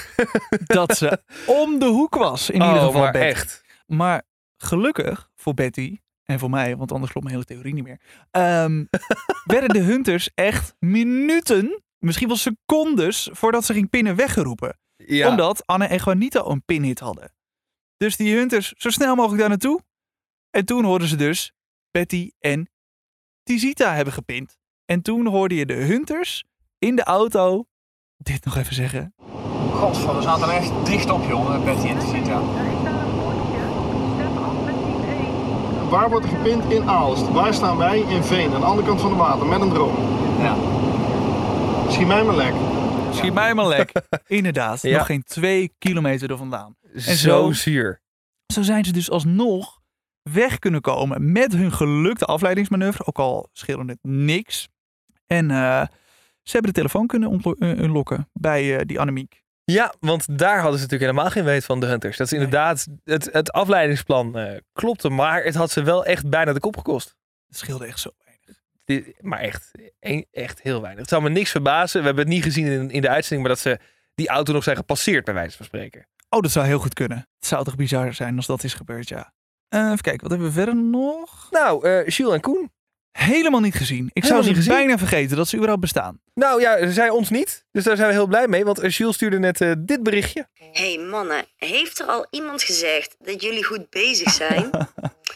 [SPEAKER 1] dat ze om de hoek was in ieder
[SPEAKER 2] Oh,
[SPEAKER 1] geval
[SPEAKER 2] maar
[SPEAKER 1] Betty.
[SPEAKER 2] echt.
[SPEAKER 1] Maar gelukkig voor Betty en voor mij, want anders klopt mijn hele theorie niet meer, ehm, werden de hunters echt minuten, misschien wel secondes, voordat ze ging pinnen weggeroepen.
[SPEAKER 2] Ja.
[SPEAKER 1] Omdat Anne en Juanita een pinhit hadden. Dus die hunters zo snel mogelijk daar naartoe. En toen hoorden ze dus Betty en Tizita hebben gepind. En toen hoorde je de hunters in de auto dit nog even zeggen.
[SPEAKER 9] Godver, we zaten er echt dicht op, jongen, Betty en Tizita.
[SPEAKER 10] Waar wordt er gepind? In Aalst. Waar staan wij? In Veen, aan de andere kant van de water, met een drone.
[SPEAKER 9] Ja.
[SPEAKER 10] Schiet mij maar lek.
[SPEAKER 1] Schiet mij maar lek. Inderdaad,
[SPEAKER 2] Ja.
[SPEAKER 1] nog geen twee kilometer er vandaan.
[SPEAKER 2] zo,
[SPEAKER 1] zo-
[SPEAKER 2] zuur.
[SPEAKER 1] Zo zijn ze dus alsnog weg kunnen komen met hun gelukte afleidingsmanoeuvre. Ook al scheelde het niks. En eh, ze hebben de telefoon kunnen ontlo- eh, unlocken bij eh, die Annemiek.
[SPEAKER 2] Ja, want daar hadden ze natuurlijk helemaal geen weet van de Hunters. Dat is inderdaad, het, het afleidingsplan eh, klopte, maar het had ze wel echt bijna de kop gekost.
[SPEAKER 1] Het scheelde echt zo weinig.
[SPEAKER 2] Dit- maar echt, e- echt heel weinig. Het zou me niks verbazen. We hebben het niet gezien in, in de uitzending, maar dat ze die auto nog zijn gepasseerd, bij wijze van spreken.
[SPEAKER 1] Oh, dat zou heel goed kunnen. Het zou toch bizar zijn als dat is gebeurd, ja. Eh, even kijken, wat hebben we verder nog?
[SPEAKER 2] Nou, eh Jules en Koen.
[SPEAKER 1] Helemaal niet gezien. Ik zou
[SPEAKER 2] Helemaal
[SPEAKER 1] ze
[SPEAKER 2] niet gezien?
[SPEAKER 1] bijna vergeten dat ze überhaupt bestaan.
[SPEAKER 2] Nou ja, zij ons niet. Dus daar zijn we heel blij mee. Want eh, Jules stuurde net eh, dit berichtje.
[SPEAKER 11] Hé hey mannen, heeft er al iemand gezegd dat jullie goed bezig zijn?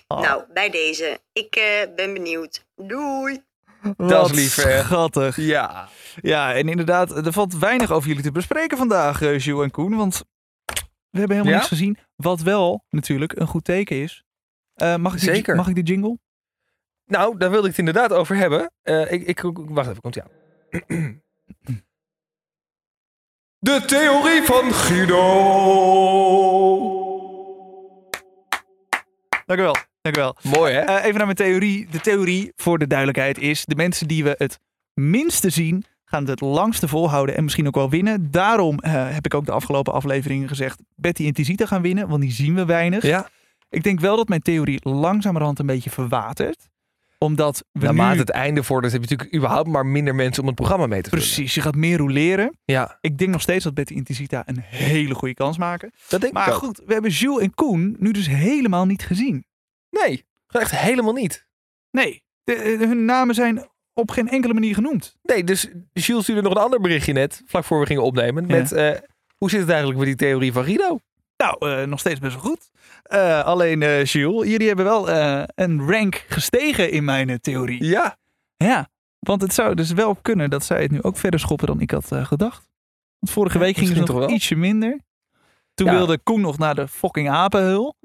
[SPEAKER 11] Nou, bij deze. Ik eh, ben benieuwd. Doei!
[SPEAKER 1] Wat
[SPEAKER 2] lief, hè?
[SPEAKER 1] schattig.
[SPEAKER 2] Ja.
[SPEAKER 1] Ja, en inderdaad, er valt weinig over jullie te bespreken vandaag, eh Jules en Koen. Want we hebben helemaal
[SPEAKER 2] Ja?
[SPEAKER 1] niks gezien. Wat wel natuurlijk een goed teken is. Eh, mag, ik die-
[SPEAKER 2] Zeker.
[SPEAKER 1] mag ik de jingle?
[SPEAKER 2] Nou, daar wilde ik het inderdaad over hebben. Eh, ik, ik, wacht even, komt ie aan. De theorie van Guido.
[SPEAKER 1] Dank u wel. Dank u wel.
[SPEAKER 2] Mooi, hè?
[SPEAKER 1] Eh, even naar mijn theorie. De theorie, voor de duidelijkheid, is de mensen die we het minste zien, gaan het het langste volhouden en misschien ook wel winnen. Daarom eh, heb ik ook de afgelopen afleveringen gezegd, Betty en Tizita gaan winnen, want die zien we weinig.
[SPEAKER 2] ja,
[SPEAKER 1] Ik denk wel dat mijn theorie langzamerhand een beetje verwatert. Omdat we
[SPEAKER 2] naarmate
[SPEAKER 1] nu...
[SPEAKER 2] het einde vordert, heb je natuurlijk überhaupt maar minder mensen om het programma mee te vullen.
[SPEAKER 1] Precies, je gaat meer roleren.
[SPEAKER 2] Ja,
[SPEAKER 1] Ik denk nog steeds dat Betty en Tizita een hele goede kans maken.
[SPEAKER 2] dat denk
[SPEAKER 1] Maar
[SPEAKER 2] ik ook.
[SPEAKER 1] goed, we hebben Jules en Koen nu dus helemaal niet gezien.
[SPEAKER 2] Nee, echt helemaal niet.
[SPEAKER 1] Nee, de- eh, hun namen zijn op geen enkele manier genoemd.
[SPEAKER 2] Nee, dus Jules stuurde nog een ander berichtje net, vlak voor we gingen opnemen,
[SPEAKER 1] Ja.
[SPEAKER 2] met eh, hoe zit het eigenlijk met die theorie van Guido?
[SPEAKER 1] Nou, eh, nog steeds best wel goed. Eh, alleen eh Jules, jullie hebben wel eh, een rank gestegen in mijn eh, theorie.
[SPEAKER 2] Ja.
[SPEAKER 1] Ja, want het zou dus wel kunnen dat zij het nu ook verder schoppen dan ik had eh, gedacht. Want vorige week ging het
[SPEAKER 2] misschien
[SPEAKER 1] nog
[SPEAKER 2] toch wel.
[SPEAKER 1] ietsje minder. Toen
[SPEAKER 2] Ja.
[SPEAKER 1] wilde Koen nog naar de fucking apenhul.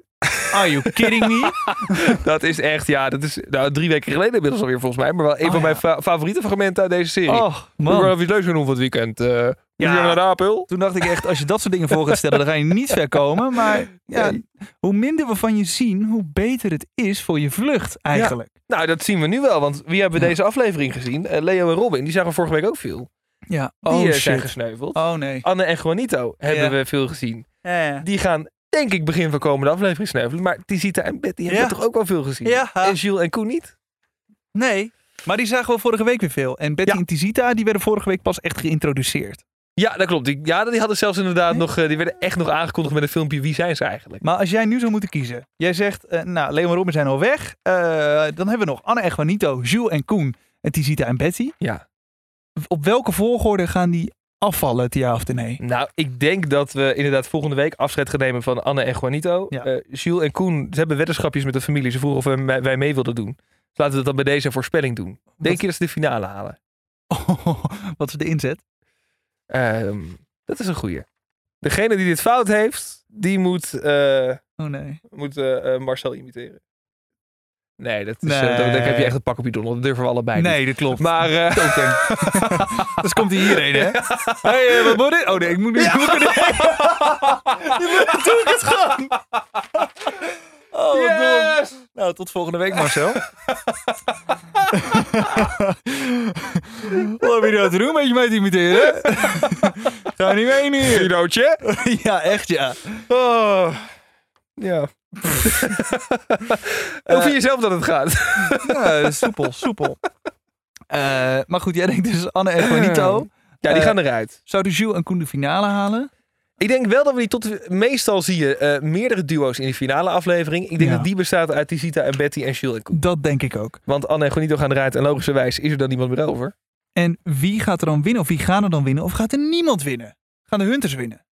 [SPEAKER 1] Are you kidding me?
[SPEAKER 2] Dat is echt, ja, dat is nou, drie weken geleden inmiddels alweer volgens mij, maar wel een
[SPEAKER 1] Oh,
[SPEAKER 2] van
[SPEAKER 1] ja.
[SPEAKER 2] mijn fa- favoriete fragmenten uit deze serie.
[SPEAKER 1] Oh,
[SPEAKER 2] We gaan
[SPEAKER 1] man.
[SPEAKER 2] even iets leuks gaan doen voor het weekend. eh
[SPEAKER 1] Ja.
[SPEAKER 2] ja. naar de Apel.
[SPEAKER 1] Toen dacht ik echt, als je dat soort dingen voor gaat stellen, dan ga je niet ver komen. Maar ja,
[SPEAKER 2] Nee.
[SPEAKER 1] hoe minder we van je zien, hoe beter het is voor je vlucht eigenlijk.
[SPEAKER 2] Nou, dat zien we nu wel, want wie hebben we deze aflevering gezien? Eh, Leo en Robin, die zagen we vorige week ook veel.
[SPEAKER 1] Ja,
[SPEAKER 2] Die
[SPEAKER 1] oh
[SPEAKER 2] eh,
[SPEAKER 1] shit.
[SPEAKER 2] zijn gesneuveld.
[SPEAKER 1] Oh nee.
[SPEAKER 2] Anne en Juanito hebben
[SPEAKER 1] Ja.
[SPEAKER 2] we veel gezien.
[SPEAKER 1] Ja, ja.
[SPEAKER 2] Die gaan, denk ik, begin van komende aflevering sneuvelen. Maar Tizita en Betty hebben
[SPEAKER 1] Ja.
[SPEAKER 2] we toch ook wel veel gezien?
[SPEAKER 1] Ja.
[SPEAKER 2] En Jules en Koen niet?
[SPEAKER 1] Nee, maar die zagen we vorige week weer veel. En Betty
[SPEAKER 2] Ja.
[SPEAKER 1] en Tizita, die werden vorige week pas echt geïntroduceerd.
[SPEAKER 2] Ja, dat klopt. Die, ja, die hadden zelfs inderdaad
[SPEAKER 1] Nee.
[SPEAKER 2] nog... eh, die werden echt nog aangekondigd met een filmpje. Wie zijn ze eigenlijk?
[SPEAKER 1] Maar als jij nu zou moeten kiezen. Jij zegt, eh, nou, Leon en Robin zijn al weg. Eh, dan hebben we nog Anne en Juanito, Jules en Koen en Tizita en Betty.
[SPEAKER 2] Ja.
[SPEAKER 1] Op welke volgorde gaan die afvallen, het ja of het nee?
[SPEAKER 2] Nou, ik denk dat we inderdaad volgende week afscheid gaan nemen van Anne en Juanito.
[SPEAKER 1] Ja.
[SPEAKER 2] Eh, Jules en Koen, ze hebben weddenschapjes met de familie. Ze vroegen of we- wij- wij mee wilden doen. Dus laten we dat dan bij deze voorspelling doen. Denk je dat ze de finale halen?
[SPEAKER 1] wat is de inzet?
[SPEAKER 2] Ehm, dat is een goeie. Degene die dit fout heeft, die moet, eh,
[SPEAKER 1] Oh nee.
[SPEAKER 2] moet eh, eh, Marcel imiteren. Nee, dat is,
[SPEAKER 1] Nee.
[SPEAKER 2] eh, dan, dan heb je echt een pak op je donder. Dat durven we allebei niet.
[SPEAKER 1] Nee, dat klopt.
[SPEAKER 2] Maar eh,
[SPEAKER 1] dus komt hij hierheen, hè? hey, eh, wat moet dit? Oh nee, ik moet nu... Ja.
[SPEAKER 2] Nou, tot volgende week, Marcel.
[SPEAKER 1] Wat heb je nou te doen met je mee te imiteren? Ga niet mee nu.
[SPEAKER 2] Guidootje.
[SPEAKER 1] ja, echt ja.
[SPEAKER 2] Oh. Ja. Hoe vind je zelf dat het gaat?
[SPEAKER 1] ja soepel, soepel. Eh, maar goed, jij denkt dus Anne en Juanito.
[SPEAKER 2] Ja, die
[SPEAKER 1] Eh,
[SPEAKER 2] gaan eruit.
[SPEAKER 1] Zouden Jules en Koen de finale halen?
[SPEAKER 2] Ik denk wel dat we die tot... Meestal zie je eh, meerdere duo's in de finale aflevering. Ik denk
[SPEAKER 1] Ja.
[SPEAKER 2] dat die bestaat uit Tizita en Betty en Jules en Koen.
[SPEAKER 1] Dat denk ik ook.
[SPEAKER 2] Want Anne en Gonito gaan eruit en logischerwijs is er dan niemand meer over.
[SPEAKER 1] En wie gaat er dan winnen? Of wie gaan er dan winnen? Of gaat er niemand winnen? Gaan de Hunters winnen?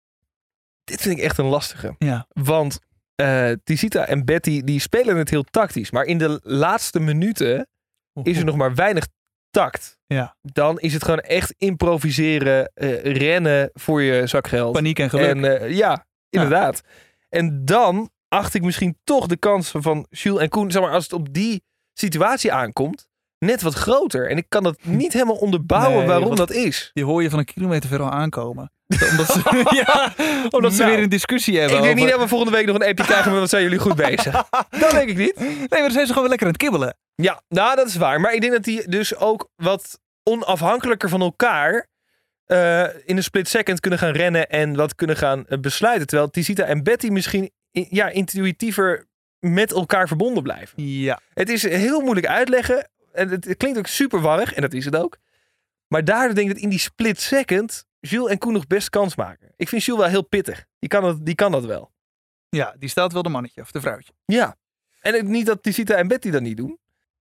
[SPEAKER 2] Dit vind ik echt een lastige.
[SPEAKER 1] Ja.
[SPEAKER 2] Want eh Tizita en Betty die spelen het heel tactisch. Maar in de laatste minuten is er nog maar weinig tact.
[SPEAKER 1] Ja.
[SPEAKER 2] Dan is het gewoon echt improviseren, eh, rennen voor je zakgeld.
[SPEAKER 1] paniek en geluk?
[SPEAKER 2] En eh, ja, inderdaad. En dan acht ik misschien toch de kans van Jules en Koen, zeg maar, als het op die situatie aankomt, net wat groter. En ik kan dat niet helemaal onderbouwen
[SPEAKER 1] Nee,
[SPEAKER 2] waarom
[SPEAKER 1] wat-
[SPEAKER 2] dat is.
[SPEAKER 1] Die hoor je van een kilometer ver al aankomen. Omdat ze, ja, omdat ze
[SPEAKER 2] Nou,
[SPEAKER 1] weer een discussie
[SPEAKER 2] Ik
[SPEAKER 1] hebben.
[SPEAKER 2] denk niet
[SPEAKER 1] over-
[SPEAKER 2] dat we volgende week nog een appje krijgen met wat zijn jullie goed bezig. Dat denk ik niet.
[SPEAKER 1] Nee, maar dan zijn ze gewoon weer lekker aan het kibbelen.
[SPEAKER 2] Ja, nou dat is waar. Maar ik denk dat die dus ook wat onafhankelijker van elkaar eh, in een split second kunnen gaan rennen en wat kunnen gaan eh, besluiten. Terwijl Tizita en Betty misschien i- ja, intuïtiever met elkaar verbonden blijven.
[SPEAKER 1] Ja.
[SPEAKER 2] Het is heel moeilijk uitleggen. En het, het klinkt ook super warrig, en dat is het ook. Maar daardoor denk ik dat in die split second Jules en Koen nog best kans maken. Ik vind Jules wel heel pittig. Die kan dat, die kan dat wel.
[SPEAKER 1] Ja, die staat wel de mannetje of de vrouwtje.
[SPEAKER 2] Ja. En het- niet dat Tizita en Betty dat niet doen.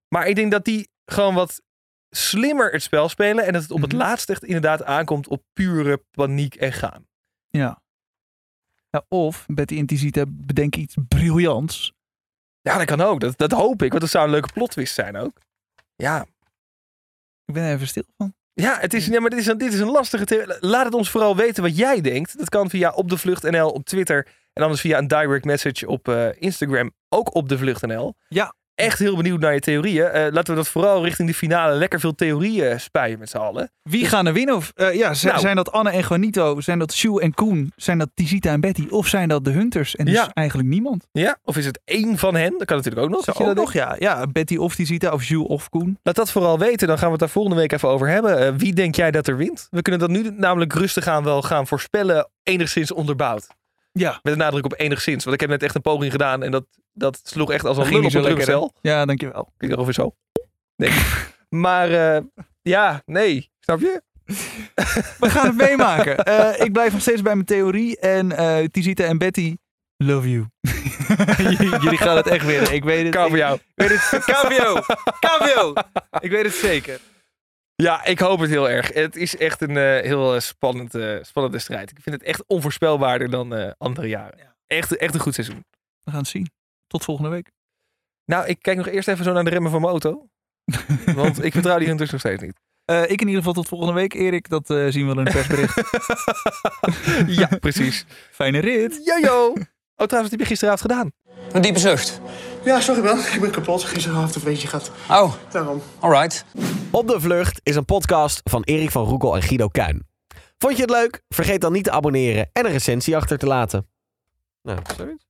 [SPEAKER 2] Maar ik denk dat die gewoon wat slimmer het spel spelen. En dat het op het
[SPEAKER 1] Mhm.
[SPEAKER 2] laatst echt inderdaad aankomt op pure paniek en gaan.
[SPEAKER 1] Ja. ja of Betty en Tizita bedenken iets briljants.
[SPEAKER 2] Ja, dat kan ook. Dat, dat hoop ik. Want dat zou een leuke plot twist zijn ook. Ja.
[SPEAKER 1] Ik ben er even stil van.
[SPEAKER 2] Ja, het is, nee, maar dit is, een, dit is een lastige theorie. Laat het ons vooral weten wat jij denkt. Dat kan via op de vlucht NL op Twitter. En anders via een direct message op eh, Instagram. Ook op de vlucht NL.
[SPEAKER 1] Ja.
[SPEAKER 2] Echt heel benieuwd naar je theorieën. Eh, laten we dat vooral richting de finale lekker veel theorieën spuien met z'n allen.
[SPEAKER 1] Wie gaan er winnen? Of, eh, ja, z-
[SPEAKER 2] Nou.
[SPEAKER 1] Zijn dat Anne en Juanito? Zijn dat Sue en Koen? Zijn dat Tizita en Betty? Of zijn dat de Hunters? En dus
[SPEAKER 2] Ja.
[SPEAKER 1] eigenlijk niemand.
[SPEAKER 2] Ja? Of is het één van hen? Dat kan natuurlijk ook nog.
[SPEAKER 1] Zou
[SPEAKER 2] dat je dat
[SPEAKER 1] ook nog, ja. ja. Betty of Tizita of Sue of Koen.
[SPEAKER 2] Laat dat vooral weten, dan gaan we het daar volgende week even over hebben. Eh, wie denk jij dat er wint? We kunnen dat nu namelijk rustig aan wel gaan voorspellen, enigszins onderbouwd.
[SPEAKER 1] Ja.
[SPEAKER 2] Met een nadruk op enigszins, want ik heb net echt een poging gedaan en dat, dat sloeg echt als een
[SPEAKER 1] Dat
[SPEAKER 2] lul op een
[SPEAKER 1] hè?
[SPEAKER 2] drumstel.
[SPEAKER 1] Ja, dankjewel.
[SPEAKER 2] Klinkt dat ongeveer zo? oh, Nee. maar eh, ja, nee, snap je?
[SPEAKER 1] We gaan het meemaken. Eh, ik blijf nog steeds bij mijn theorie. En eh Tizita en Betty, love you. J- Jullie gaan het echt winnen. Ik weet het.
[SPEAKER 2] Kou voor
[SPEAKER 1] Ik-
[SPEAKER 2] jou.
[SPEAKER 1] Ik weet het. KVO. KVO. Ik weet het zeker.
[SPEAKER 2] Ja, ik hoop het heel erg. Het is echt een eh, heel eh, spannend, eh, spannende strijd. Ik vind het echt onvoorspelbaarder dan eh, andere jaren. Echt, echt een goed seizoen.
[SPEAKER 1] We gaan het zien. Tot volgende week.
[SPEAKER 2] Nou, ik kijk nog eerst even zo naar de remmen van mijn auto. Want ik vertrouw die hunters nog steeds niet.
[SPEAKER 1] Eh, ik in ieder geval tot volgende week, Erik. Dat eh, zien we wel in het persbericht.
[SPEAKER 2] ja, precies.
[SPEAKER 1] Fijne rit.
[SPEAKER 2] Jojo! Oh, trouwens, wat heb je gisteravond gedaan?
[SPEAKER 9] Een diepe zucht.
[SPEAKER 10] Ja, sorry man. Ik ben kapot. Gisteravond een beetje gaat.
[SPEAKER 9] Oh,
[SPEAKER 10] Daarom.
[SPEAKER 9] alright.
[SPEAKER 12] Op de Vlucht is een podcast van Erik van Roekel en Guido Kuin. Vond je het leuk? Vergeet dan niet te abonneren en een recensie achter te laten. Nou, sorry.